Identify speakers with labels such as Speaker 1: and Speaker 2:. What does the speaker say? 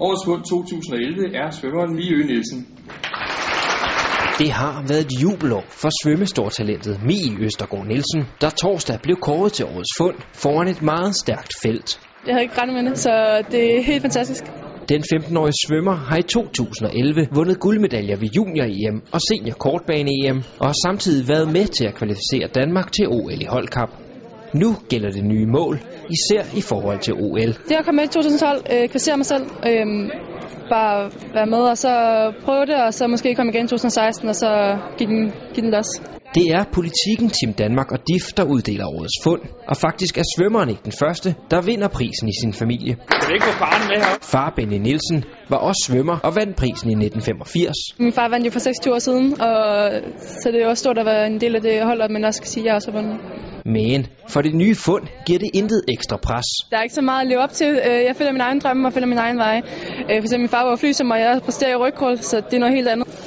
Speaker 1: Årets Mund 2011 er svømmeren Mie Ø. Nielsen.
Speaker 2: Det har været et jubelår for svømmestortalentet Mie Østergaard Nielsen, der torsdag blev kåret til årets fund foran et meget stærkt felt.
Speaker 3: Jeg havde ikke regnet med det, så det er helt fantastisk.
Speaker 2: Den 15-årige svømmer har i 2011 vundet guldmedaljer ved junior-EM og senior-kortbane-EM, og har samtidig været med til at kvalificere Danmark til OL i holdkamp. Nu gælder det nye mål, især i forhold til OL.
Speaker 3: Det at komme med i 2012, øh, kvalificere mig selv, øh, bare være med, og så prøve det, og så måske komme igen i 2016, og så give den, give den los.
Speaker 2: Det er politikken Team Danmark og DIF, der uddeler årets fund, og faktisk er svømmeren ikke den første, der vinder prisen i sin familie.
Speaker 1: Kan ikke få faren med her?
Speaker 2: Far Benny Nielsen var også svømmer og vandt prisen i 1985.
Speaker 3: Min far vandt jo for 26 år siden, og så det er jo også stort at være en del af det hold, og man også kan sige, at jeg også har vundet.
Speaker 2: Men for det nye fund giver det intet ekstra pres.
Speaker 3: Der er ikke så meget at leve op til. Øh, Jeg følger min egen drømme og følger min egen vej. Øh, For eksempel min far var flysom, og jeg præsterer i rygkål, så det er noget helt andet.